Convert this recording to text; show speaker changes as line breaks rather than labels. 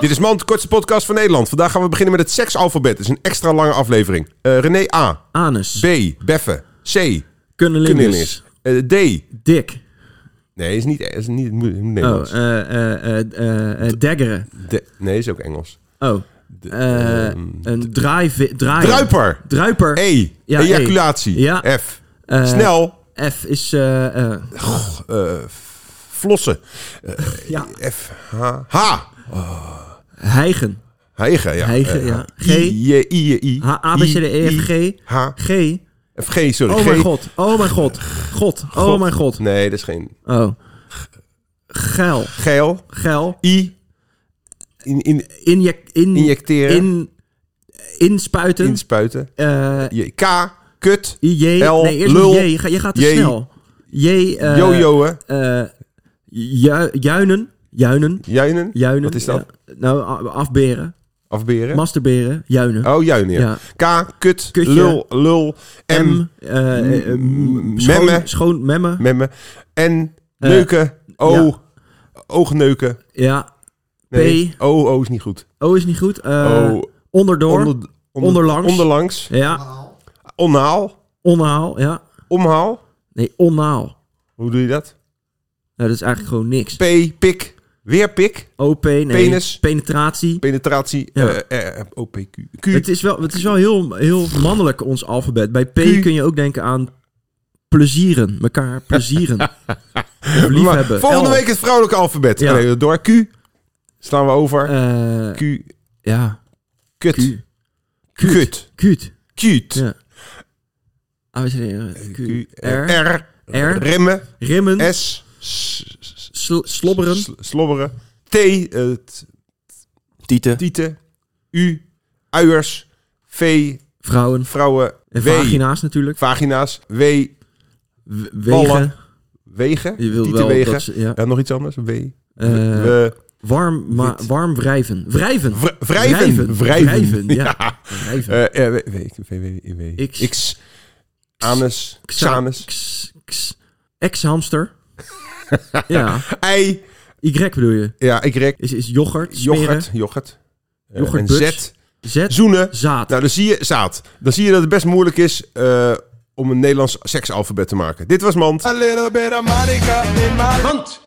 Dit is Mand, de kortste podcast van Nederland. Vandaag gaan we beginnen met het seksalfabet. Het is een extra lange aflevering. Eh, René A.
Anus.
B. Beffen. C. Kunnelis.
Kunnelingus.
Eh, D.
Dik.
Nee, is niet, is niet moet- moet
Oh,
Nederlands.
eh, eh, eh, eh, eh, daggeren.
De- nee, is ook Engels.
Oh. Eh, een draai... draaier.
ehm, Druiper.
Druiper.
E.
Ja,
Ejaculatie.
E. Ja.
F. Snel.
F is... eh, eh,
Eh, flossen.
ja.
F. H. H.
Hijgen.
Heigen, ja.
Hijgen,
Eh,
ja.
H.
G.
I. J, I, J, I.
H, A, B, C, D, E, F,
I,
G.
H.
G.
F, G, sorry.
Oh mijn
G.
god. Oh mijn god. God. Oh mijn god.
Nee, dat is geen...
Oh. Geil.
Geil.
Geil.
I. In, in,
Inject, in,
Injecteren.
In, inspuiten.
inspuiten.
Eh,
J- K, kut,
IJ.
L,
nee, eerst
lul,
nog J. Ga- Je gaat te
J.
snel. J. eh,
jojoen,
eh, ju- juinen. Juinen.
juinen.
Juinen.
Wat is dat?
Ja. Nou, a- afberen.
Afberen?
Masturberen. Juinen.
oh, juinen, ja. K, kut,
Kutje.
lul, lul, M,
M. eh, eh, m-
memme.
Schoon, schoon memmen.
memme, N, neuken, O,
Eh, ja.
oogneuken.
Ja.
Nee,
P.
O, O is niet goed.
O is niet goed. Eh,
O,
Onderdoor.
Oh. onder- onder-
onderlangs.
Onderlangs.
ja.
Onhaal,
Onhaal. Ja.
omhaal.
Nee, onhaal.
Hoe doe je dat?
Nou, dat is eigenlijk gewoon niks.
P, pik, weer pik,
OP. Nee.
Penis.
Penetratie.
penetratie,
Ja.
eh, eh, OPQ. Q,
Het is wel, het is wel heel, heel mannelijk, ons alfabet. Bij P
Q.
kun je ook denken aan plezieren. Mekaar plezieren. Of
Maar
liefhebben.
Volgende
L.
week het vrouwelijke alfabet.
Ja.
Nee, door Q, slaan we over.
Eh,
Q,
ja.
kut,
Q.
kut,
Cute.
cute.
Ja. A, B, C, D, E, Q, R.
R.
R.
Remmen.
Rimmen.
S. s- s-
sl- slobberen.
sl- Slobberen. T. eh, t-
Tieten.
Tieten. U. Uiers. V.
Vrouwen.
Vrouwen.
En
W.
vagina's natuurlijk.
Vagina's. W.
W-
Ballen.
Wegen.
Wegen.
Je wil wel
Tietenwegen.
dat ze, ja.
Ja, nog iets anders. W.
Eh,
We-
warm, ma-
wit.
warm wrijven. Wrijven.
Wr- wrijven.
Wrijven.
Wrijven.
Wrijven, ja.
Eh,
Wrijven.
eh, W. W- W- W-
X.
X. Anus.
Xa-
Xanus.
X- X- Ex-hamster. ja.
I.
Y bedoel je.
Ja, ik rek.
Is, is yoghurt. smeren.
Yoghurt. Yoghurt. Eh,
Yoghurt,
en
buts.
Z.
Zet.
Zoenen.
Zaad.
Nou, dan zie je, zaad. Dan zie je dat het best moeilijk is eh, om een Nederlands seksalfabet te maken. Dit was Mand.
A little bit of Monica in my...